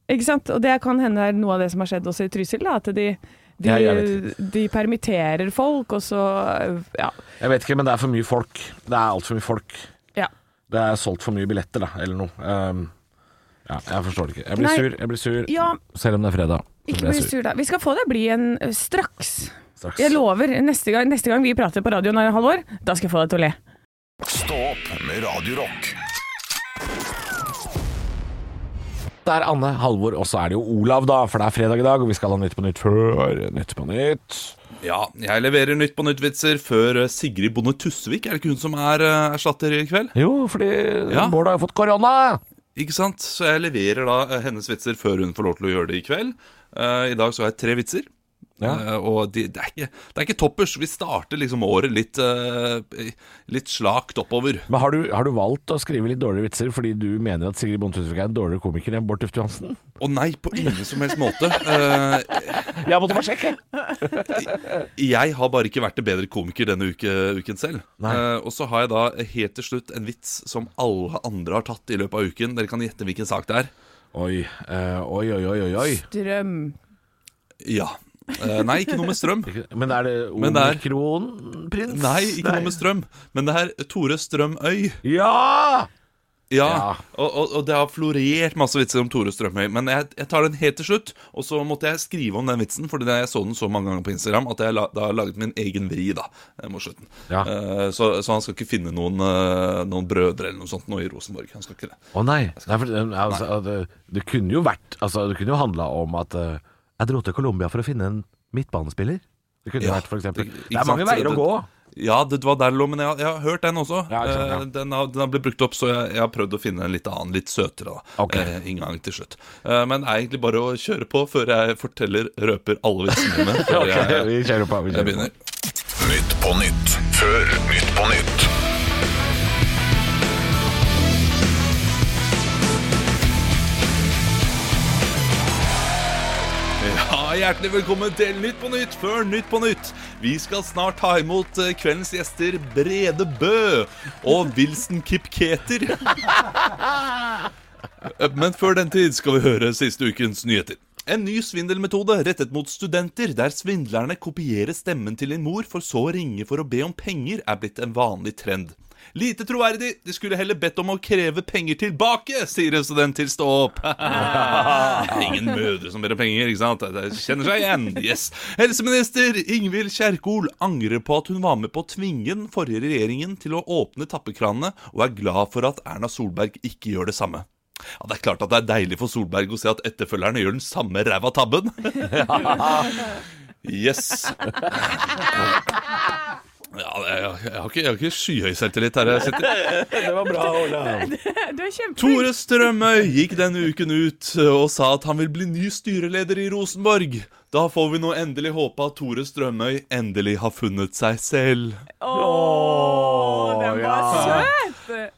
C: Ikke sant? Og det kan hende er noe av det som har skjedd også i Trysil, da, at de de,
D: Ja, jeg
C: de permitterer folk, og så eh, ja.
D: Jeg vet ikke, men det er for mye folk. Det er altfor mye folk.
C: ja.
D: Det er solgt for mye billetter, da, eller noe. Um, ja, jeg forstår det ikke. Jeg blir
C: Nei.
D: sur, jeg blir sur.
C: Ja,
D: Selv om det er fredag. Så
C: ikke
D: blir
C: bli
D: jeg sur.
C: sur, da. Vi skal få det bli en ø, straks.
D: Straks.
C: Jeg lover. Neste gang, neste gang vi prater på radioen, Halvor, da skal jeg få deg til å le.
B: Stå opp med Radio Rock.
D: Det er Anne, Halvor, og så er det jo Olav, da, for det er fredag i dag, og vi skal ha Nytt på Nytt før Nytt på Nytt.
G: Ja, jeg leverer Nytt på Nytt-vitser før eh, Sigrid Bonde Tusvik. Er det ikke hun som er eh, erstatter i kveld?
D: Jo, fordi
G: Ja.
D: Bård har jo fått korona!
G: Ikke sant? Så jeg leverer da eh, hennes vitser før hun får lov til å gjøre det i kveld. Eh, I dag så har jeg tre vitser.
D: Ja.
G: Eh, og de, det, er ikke, det er ikke toppers. Vi starter liksom året litt, eh, litt slakt oppover.
D: Men har du, har du valgt å skrive litt dårlige vitser fordi du mener at Sigrid Bonde Tusvik er en dårligere komiker enn Bård Tufte Johansen?
G: Å nei, på ingen som helst måte. Eh,
D: Jeg måtte bare sjekke!
G: Jeg har bare ikke vært en bedre komiker denne uke, uken selv.
D: Nei.
G: Eh, og så har jeg da helt til slutt en vits som alle andre har tatt i løpet av uken. Dere kan gjette hvilken sak det er.
D: Oi, eh, oi, oi, oi, oi, oi.
C: Drøm.
G: Ja. Eh, nei, ikke noe med strøm.
D: Men er det
G: Men det er-
D: omikronprins?
G: Nei, ikke noe med strøm. Men det er Tore Strømøy.
D: Ja!
G: Ja,
D: Ja.
G: Og, og, og det har florert masse vitser om Tore Strømøy. Men jeg, jeg tar den helt til slutt, og så måtte jeg skrive om den vitsen. Fordi jeg så den så mange ganger på Instagram at jeg la, da har jeg laget min egen vri da eh, mot slutten.
D: Ja.
G: Eh, så, så han skal ikke finne noen, eh, noen brødre eller noe sånt nå i Rosenborg. Han skal ikke det.
D: Å nei. nei, for, eh, altså, det, det kunne jo vært altså, Det kunne jo handla om at eh, Jeg dro til Colombia for å finne en midtbanespiller. Det kunne
G: Ja,
D: vært for eksempel.
G: det- ikke
D: Det er mange
G: sant?
D: veier å
G: Det-
D: gå.
G: Ja, det var der det lå, men jeg, jeg har hørt den også.
D: Ja, ikke sant, ja.
G: Eh, Den, har, den har blitt brukt opp, så jeg, jeg har prøvd å finne en litt annen, litt søtere da,
D: Ok.
G: eh, inngang til slutt. Eh, men det er egentlig bare å kjøre på før jeg forteller, røper alle vitsene mine. før
D: Ok,
G: jeg,
D: vi kjører på. Vi kjører på.
G: jeg begynner.
B: Nytt på nytt før Nytt på nytt.
G: Ja, Hjertelig velkommen til Nytt på Nytt før Nytt på Nytt. Vi skal snart ta imot eh, kveldens gjester Brede Bø og Wilson Kipketer. Eh, Men før den tid skal vi høre siste ukens nyheter. En ny svindelmetode rettet mot studenter, der svindlerne kopierer stemmen til din mor for så å ringe for å be om penger, er blitt en vanlig trend. Lite troverdig, de skulle heller bedt om å kreve penger tilbake, sier en student til Stå opp. Det er Ingen mødre som ber om penger, ikke sant? Det kjenner seg igjen. Yes. Helseminister Ingvild Kjerkol angrer på at hun var med på å tvinge den forrige regjeringen til å åpne tappekranene, og er glad for at Erna Solberg ikke gjør det samme. Ja, Det er klart at det er deilig for Solberg å se at etterfølgerne gjør den samme ræva tabben. yes. Ja, jeg, jeg, har ikke, jeg har ikke skyhøy selvtillit her jeg sitter.
D: Det var bra, Olav.
C: Du er kjempeflink.
G: Tore Strømøy gikk denne uken ut og sa at han vil bli ny styreleder i Rosenborg. Da får vi nå endelig håpe at Tore Strømøy endelig har funnet seg selv.
C: Åh, den var søt!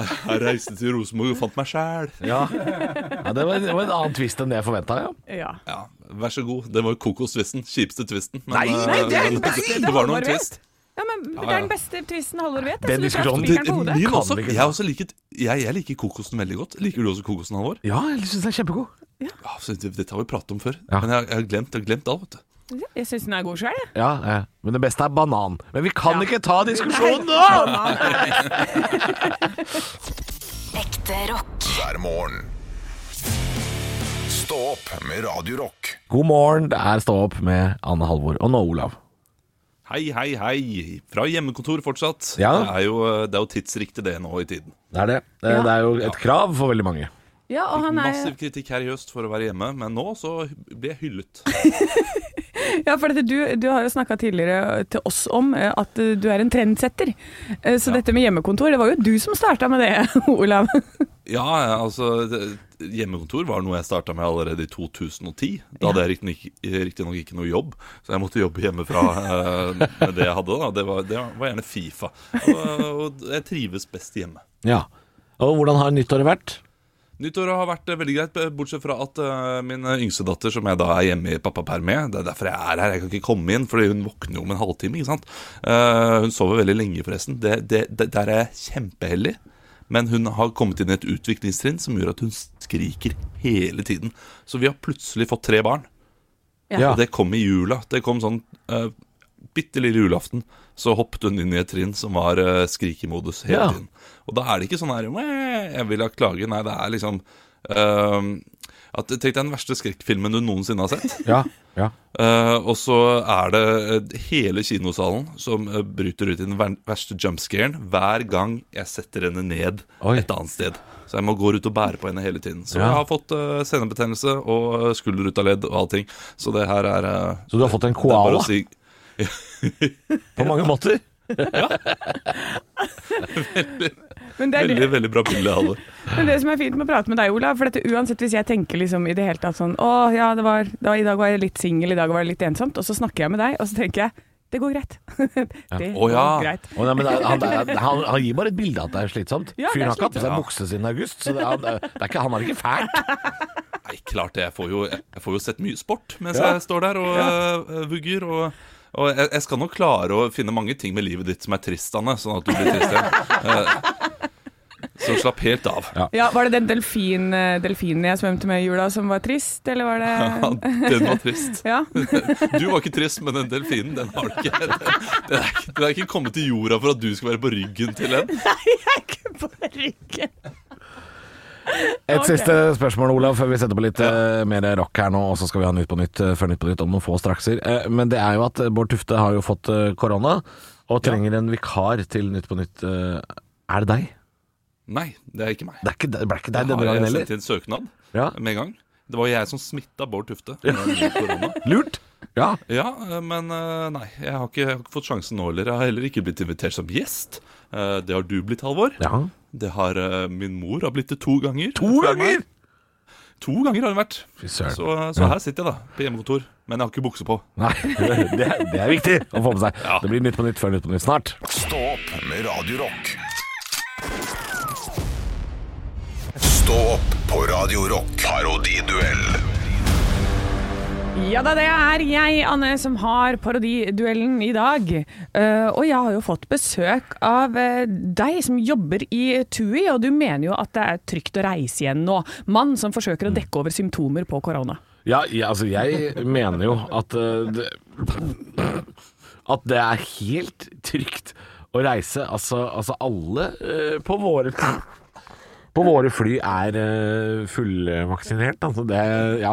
G: Jeg reiste til Rosenborg og fant meg sjæl.
D: Ja. ja det, var, det var en annen twist enn det jeg forventa, ja.
C: Ja.
G: Ja, vær så god. Det var kokostvisten. Kjipeste twisten. Men,
D: Nei,
G: eh,
D: nei, det er-
G: men
D: nei,
G: det,
C: det
G: var
C: Halvor
G: noen
C: vet.
G: twist.
C: Ja, men
G: ja.
C: Det er den beste tvisten Halvor vet. altså.
D: Den
C: så du traff
D: diskusjonen-
C: spikeren på hodet.
G: Min
D: Kan
G: også.
D: vi ikke
G: Jeg,
D: ta-
G: også liker, jeg, jeg liker kokosen veldig godt. Liker du også kokosen, Halvor?
D: Ja, jeg syns den er kjempegod.
G: Ja, så det- Dette har vi pratet om før.
D: Ja.
G: Men jeg, jeg har glemt, jeg har glemt alt, vet du.
C: Jeg syns den er god sjøl, jeg.
D: Ja, ja. Men det beste er banan. Men vi kan
C: Ja.
D: ikke ta diskusjonen nå!
A: Ekte rock.
B: hver morgen. Stå opp med Radio Rock.
D: God morgen, det er Stå opp med Anne Halvor og nå Olav.
G: Hei, hei, hei. Fra hjemmekontor fortsatt.
D: Ja.
G: Det, er jo, eh, det er jo tidsriktig det nå i tiden.
D: Det er det. Det,
C: Ja.
D: det er jo et krav for veldig mange.
C: Ja, og han er
G: Massiv kritikk her i høst for å være hjemme, men nå så blir jeg hyllet.
C: Ja, for dette, du, du har jo snakka tidligere til oss om eh, at eh, du er en trendsetter. Eh, Så dette med hjemmekontor, det var jo du som starta med det, Olav.
G: Ja, altså det- Hjemmekontor var noe jeg starta med allerede i 2010. Da hadde jeg riktignok riktignok ikke noe jobb, så jeg måtte jobbe hjemmefra eh, med det jeg hadde. da Det var, det var gjerne Fifa. Og, og jeg trives best hjemme.
D: Ja. Og hvordan har nyttåret vært?
G: Nyttåret har vært eh, veldig greit, b- bortsett fra at eh, min yngste datter, som jeg da er hjemme i pappaperm med Det er derfor jeg er her, jeg kan ikke komme inn, fordi hun våkner jo om en halvtime. ikke sant? Eh, hun sover veldig lenge, forresten. Det, det, det, der er jeg kjempeheldig. Men hun har kommet inn i et utviklingstrinn som gjør at hun skriker hele tiden. Så vi har plutselig fått tre barn.
D: Ja.
G: Og det kom i jula. Det kom sånn uh, bitte lille julaften. Så hoppet hun inn i et trinn som var eh, skrikemodus hele
D: Ja.
G: tiden. Og da er det ikke sånn her «Mæ, Jeg vil ha klage. Nei, det er liksom eh, at, Tenk deg den verste skrekkfilmen du noensinne har sett.
D: Ja. ja.
G: Eh, og så er det eh, hele kinosalen som eh, bryter ut i den ver verste jumpscaren hver gang jeg setter henne ned
D: Oi.
G: et annet sted. Så jeg må gå rundt og bære på henne hele tiden. Så
D: Ja.
G: jeg har fått eh, senebetennelse og eh, skulder ut av ledd og allting. Så det her er eh,
D: Så du har fått en
G: det er bare
D: koala
G: å si
D: på mange måter?
C: Men det, er
G: Veldig,
C: det,
G: veldig bra bilde, Halvor.
C: men det som er fint med å prate med deg, Olav, for dette uansett hvis jeg tenker liksom i det hele tatt sånn Å ja, det var, da, i dag var jeg litt singel, i dag var det litt ensomt. Og så snakker jeg med deg, og så tenker jeg det går greit. det
G: Å, ja.
C: går greit.
D: Å, nei, men han, han, han, han gir bare et bilde av at det er slitsomt.
C: Ja, det er
D: Fyren har ikke hatt på seg
G: slitsomt.
D: bukse siden august, så det, han, det er ikke, han har det ikke fælt.
G: Nei, klart det. Jeg får jo, jeg får jo sett mye sport mens
D: Ja.
G: jeg står der og eh, vugger. Og, og jeg, jeg skal nok klare å finne mange ting med livet ditt som er trist, Anne. Sånn at du blir trist igjen. Eh, så slapp helt av.
D: Ja.
C: Ja, Var det den delfin, eh, delfinen jeg svømte med i jula som var trist, eller var det
G: Den var trist.
C: Ja.
G: Du var ikke trist, men den delfinen den har du ikke. Den, den, er, ikke- den er ikke kommet til jorda for at du skal være på ryggen til den.
C: Nei, jeg er ikke på ryggen.
D: Et
C: Ok.
D: siste spørsmål, Olav, før vi setter på litt eh, mer rock her nå, og så skal vi ha Nytt på Nytt eh, før Nytt på Nytt om noen få strakser. Eh, men det er jo at eh, Bård Tufte har jo fått eh, korona, og trenger en vikar til Nytt på Nytt. Eh, er det deg?
G: Nei, det er ikke meg.
D: Det, er ikke, det ble ikke deg
G: Har
D: denne gangen
G: jeg
D: heller?
G: sendt inn søknad
D: Ja.
G: med en gang? Det var jo jeg som smitta Bård Tufte. med korona.
D: Lurt! Ja.
G: Ja, eh, men eh, nei, jeg har, ikke, jeg har ikke fått sjansen nå heller. Jeg har heller ikke blitt invitert som gjest. Eh, Det har du blitt, Halvor.
D: ja.
G: Det har eh, min mor har blitt det to ganger.
D: To ganger!
G: To ganger har hun vært.
D: Fy
G: Så, eh,
D: søren.
G: så her sitter jeg, da, på hjemmekontor. Men jeg har ikke bukse på.
D: Nei, det, er- det er viktig å få med seg.
G: Ja.
D: Det blir Nytt på nytt før Nytt på nytt snart.
B: Stå opp med Radio Rock. Stå opp på Radio Rock. Parodiduell.
C: Ja da, det er jeg, Anne, som har parodiduellen i dag. Eh, og jeg har jo fått besøk av eh, deg som jobber i TUI, og du mener jo at det er trygt å reise igjen nå. Mann som
D: Mm.
C: forsøker å dekke over symptomer på korona.
D: Ja, jeg, altså jeg mener jo at eh, det, At det er helt trygt å reise. Altså, altså alle eh, på våre på våre fly er eh, fullvaksinert. Altså det, ja.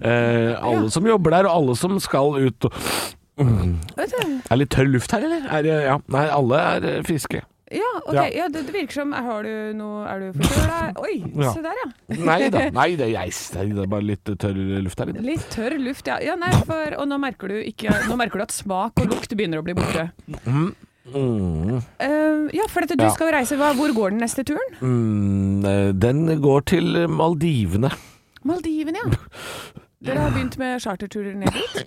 D: Eh, alle som jobber der, og alle som skal ut og Er litt tørr luft her, eller? Er, det- ja. Nei, alle er eh, friske.
C: Ja, ok,
D: Ja.
C: ja. det, det virker som Har du noe Er du forkjøla? Oi,
D: Ja.
C: se der, ja.
D: Nei da. Nei, det er, jeg, det er bare litt tørr luft her inne.
C: Litt tørr luft, ja. ja nei, for, og nå merker, du ikke, nå merker du at smak og lukt begynner å bli borte.
D: Mm,
C: Eh, ja, for dette, du
D: Ja.
C: skal jo reise. Hva, hvor går den neste turen?
D: Mm, eh, den går til Maldivene.
C: Maldivene, ja. Dere har begynt med charterturer ned dit.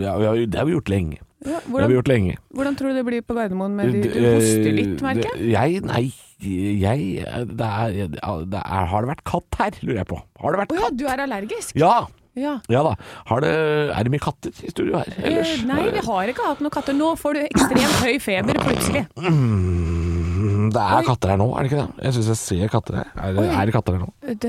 D: Ja, vi har, det har vi gjort lenge.
C: Ja,
D: Det har vi
C: Mm. hvordan,
D: gjort lenge.
C: hvordan tror du det blir på Gardermoen med de Du
D: Eh,
C: hoster litt, merker jeg.
D: det- Jeg, nei, jeg det er, det er, Har det vært katt her, lurer jeg på. Har det vært
C: Å ja,
D: katt?
C: du er allergisk?
D: Ja,
C: Ja.
D: ja da. Har det, er det mye katter i studio her ellers?
C: Eh, Nei, vi har ikke hatt noen katter. Nå får du ekstremt høy feber plutselig.
D: Mm, Det er katter her nå, er det ikke det? Jeg syns jeg ser katter her. Er det, er det katter her nå?
C: Det,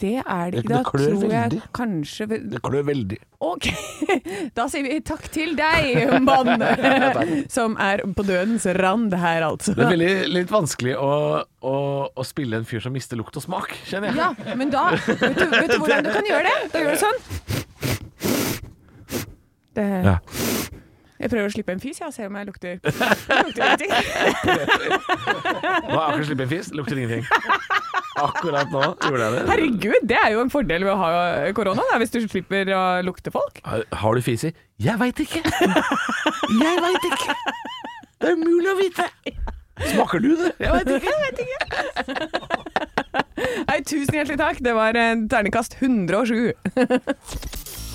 C: det er det
D: Det
C: ikke. Da
D: klør
C: tror jeg
D: veldig.
C: kanskje vi-
D: Det klør veldig.
C: Ok, da sier vi takk til deg, mann, som er på dødens rand her, altså.
D: Det er veldig, litt vanskelig å, å, å spille en fyr som mister lukt og smak, kjenner jeg.
C: Ja, men da Vet du, vet du hvordan du kan gjøre det? Da gjør du sånn. Det,
D: Ja.
C: Jeg prøver å slippe en fis, jeg, og ser om jeg lukter, lukter ingenting.
D: Nå har jeg akkurat sluppet en fis, lukter ingenting. Akkurat nå gjorde jeg det.
C: Herregud, det er jo en fordel ved å ha korona, da, hvis du slipper å lukte folk.
D: Har- Har du fis i? Jeg veit ikke. Jeg veit ikke. Det er umulig å vite. Smaker du det? Jeg veit ikke.
C: Nei, tusen hjertelig takk. Det var en terningkast 107.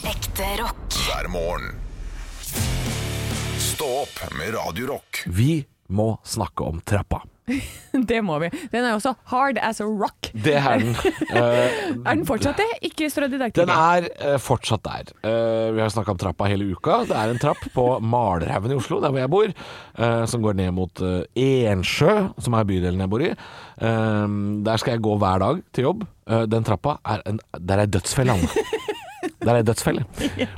A: Ekte rock.
B: hver morgen. Stå opp med Radio Rock.
D: Vi må snakke om trappa.
C: Det må vi. Den er også hard as a rock.
D: Det er den. Eh,
C: Er den fortsatt det? Ikke strødd i
D: Den
C: dagtid.
D: er eh, fortsatt der. Eh, vi har snakka om trappa hele uka. Det er en trapp på Malerhaugen i Oslo, der hvor jeg bor, eh, som går ned mot eh, Ensjø, som er bydelen jeg bor i. Eh, der skal jeg gå hver dag til jobb. Eh, den trappa er en Der er dødsfella, Anne. Der er dødsfelle.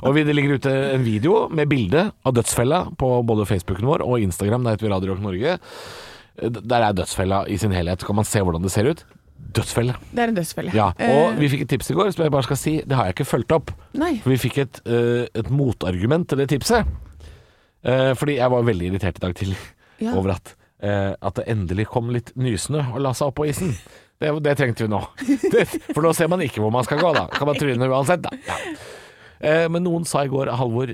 D: Og vi- det ligger ute en video med bilde av dødsfella på både Facebooken vår og Instagram. Der heter vi Radio Rock Norge. Eh, d- Der er dødsfella i sin helhet. Så kan man se hvordan det ser ut. Dødsfelle.
C: Det er en dødsfelle.
D: Ja,
C: Eh,
D: og vi fikk et tips i går som jeg bare skal si, det har jeg ikke fulgt opp.
C: Nei.
D: For vi fikk et, eh, et motargument til det tipset. Eh, fordi jeg var veldig irritert i dag tidlig
C: Ja.
D: over at, eh, at det endelig kom litt nysnø og la seg opp på isen. Det, det trengte vi nå. Det, for nå ser man ikke hvor man skal gå, da. Kan man tryne uansett, da. Ja. Eh, men noen sa i går, Halvor,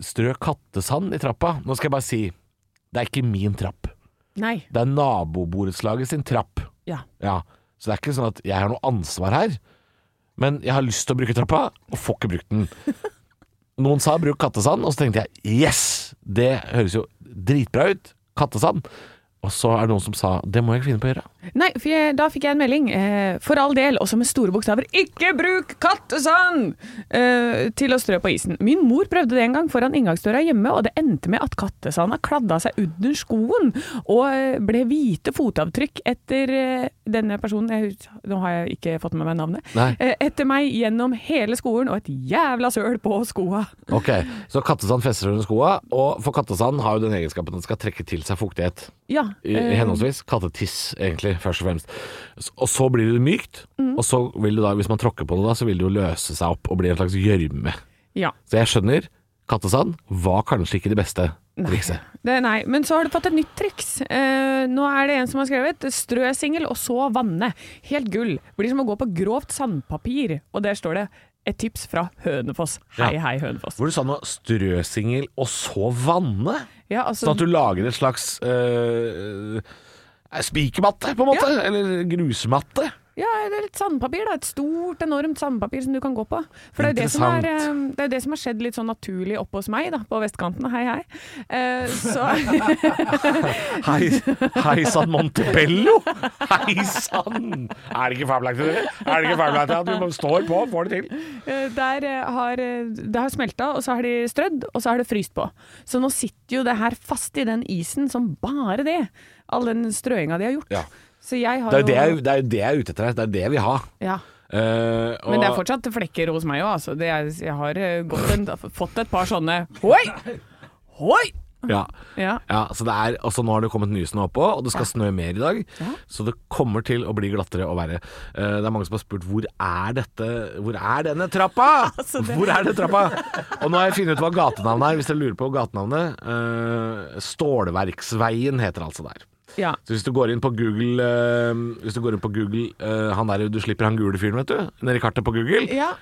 D: strø kattesand i trappa. Nå skal jeg bare si, det er ikke min trapp.
C: Nei.
D: Det er naboborettslaget sin trapp.
C: Ja.
D: Ja, så det er ikke sånn at jeg har noe ansvar her, men jeg har lyst til å bruke trappa, og får ikke brukt den. Noen sa bruk kattesand, og så tenkte jeg yes, det høres jo dritbra ut, kattesand. Og så er det noen som sa det må jeg ikke finne på å gjøre.
C: Nei, for jeg, da fikk jeg en melding. Eh, for all del, også med store bokstaver, ikke bruk kattesand eh, til å strø på isen. Min mor prøvde det en gang foran inngangsdøra hjemme, og det endte med at kattesanda kladda seg under skoen og eh, ble hvite fotavtrykk etter eh, denne personen jeg, hus- Nå har jeg ikke fått med meg navnet.
D: Nei.
C: Eh, etter meg gjennom hele skolen og et jævla søl på skoa.
D: Ok, Så kattesand fester under skoa, og for kattesand har jo den egenskapen at den skal trekke til seg fuktighet.
C: Ja.
D: I,
C: eh,
D: henholdsvis kattetiss, egentlig, først og fremst. S- Og så blir det mykt,
C: Mm.
D: og så vil det da, hvis man tråkker på det da, så vil det jo løse seg opp og bli en slags gjørme.
C: ja.
D: Så jeg skjønner, kattesand var kanskje ikke det beste. trikset.
C: Det, nei, men så har du fått et nytt triks. Eh, nå er det en som har skrevet 'strø singel og så vanne'. Helt gull. Blir som å gå på grovt sandpapir. Og der står det 'et tips fra Hønefoss'. Hei,
D: Ja.
C: hei, Hønefoss.
D: Hvor du sa noe strøsingel og så vanne?
C: Ja, altså-
D: Sånn at du lager et slags øh, øh, spikermatte, på en måte? Eller grusmatte?
C: Ja, eller et sandpapir, da. Et stort, enormt sandpapir som du kan gå på. For det er jo det, som er, eh,
D: Interessant.
C: det, er jo det som har skjedd litt sånn naturlig oppe hos meg, da, på vestkanten. Hei, hei. Eh, så
D: Hei, hei sann, Montebello! Hei sann! Er det ikke fabelaktig, dere? Er det ikke fabelaktig at vi bare står på og får det til?
C: Eh, Der eh, har eh, det har smelta, og så har de strødd, og så har det fryst på. Så nå sitter jo det her fast i den isen som bare det. All den strøinga de har gjort.
D: Ja.
C: Så jeg har
D: Det er
C: jo
D: jo det jeg, det er, jo det jeg er ute etter her. Det er det jeg vil ha.
C: ja.
D: Eh, og-
C: Men det er fortsatt flekker hos meg òg, altså. Det er, jeg har eh, gått en, fått et par sånne Hoi! Hoi!
D: ja.
C: Ja.
D: Ja, så det er, og så nå har det kommet nysnø oppå, og det skal snø mer i dag. Så det kommer til å bli glattere og verre. Eh, det er mange som har spurt hvor er dette Hvor er denne trappa?!
C: Altså,
D: Hvor er denne trappa?! Og nå har jeg funnet ut hva gatenavnet er, hvis dere lurer på gatenavnet. Eh, Stålverksveien heter altså der.
C: ja.
D: Så hvis du går inn på Google, eh, hvis du, går inn på Google eh, han der, du slipper han gule fyren, vet du, nedi kartet på Google,
C: Ja.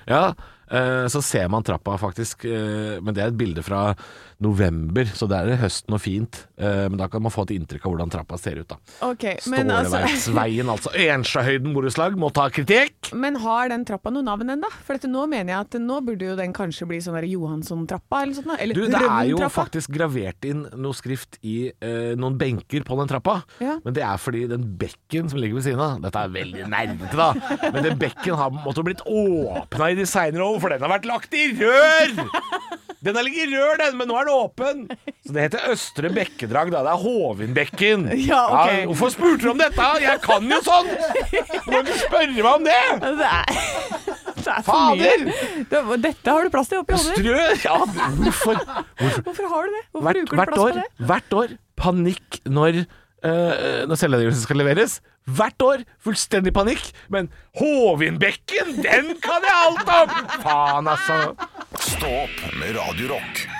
D: eh, så ser man trappa faktisk. eh, men det er et bilde fra november, så der er det høsten og fint. eh, men da kan man få et inntrykk av hvordan trappa ser ut, da.
C: OK. Men, altså,
D: Ståleverksveien, altså. Enstadhøyden borettslag må ta kritikk!
C: men har den trappa noe navn ennå? For dette, nå mener jeg at nå burde jo den kanskje bli sånn der Johansson-trappa, eller sånt noe. Eller
D: Du, det er jo
C: Rømmen-trappa.
D: faktisk gravert inn noe skrift i eh, noen benker på den trappa.
C: Ja.
D: Men det er fordi den bekken som ligger ved siden av Dette er veldig nerdete, da. Men den bekken har måtte ha blitt åpna i de seinere år, for den har vært lagt i rør! Den har ligget i rør, den, men nå er den åpen. Så det heter Østre Bekkedrag, da. Det er Hovinbekken.
C: Ja, ok.
D: hvorfor spurte du om dette? Jeg kan jo sånt! Du kan ikke spørre meg om det!
C: Det er, det er for mye. Det, dette har du plass til oppi hodet.
D: Strø! Ja, hvorfor?
C: Hvorfor har du det? Hvorfor bruker
D: hvert,
C: du
D: hvert,
C: plass
D: år,
C: på det?
D: hvert år panikk når uh, når selvangivelsen skal leveres. Hvert år fullstendig panikk. Men Hovinbekken, den kan jeg alt om! Faen, altså.
B: Stå opp med Radio Rock.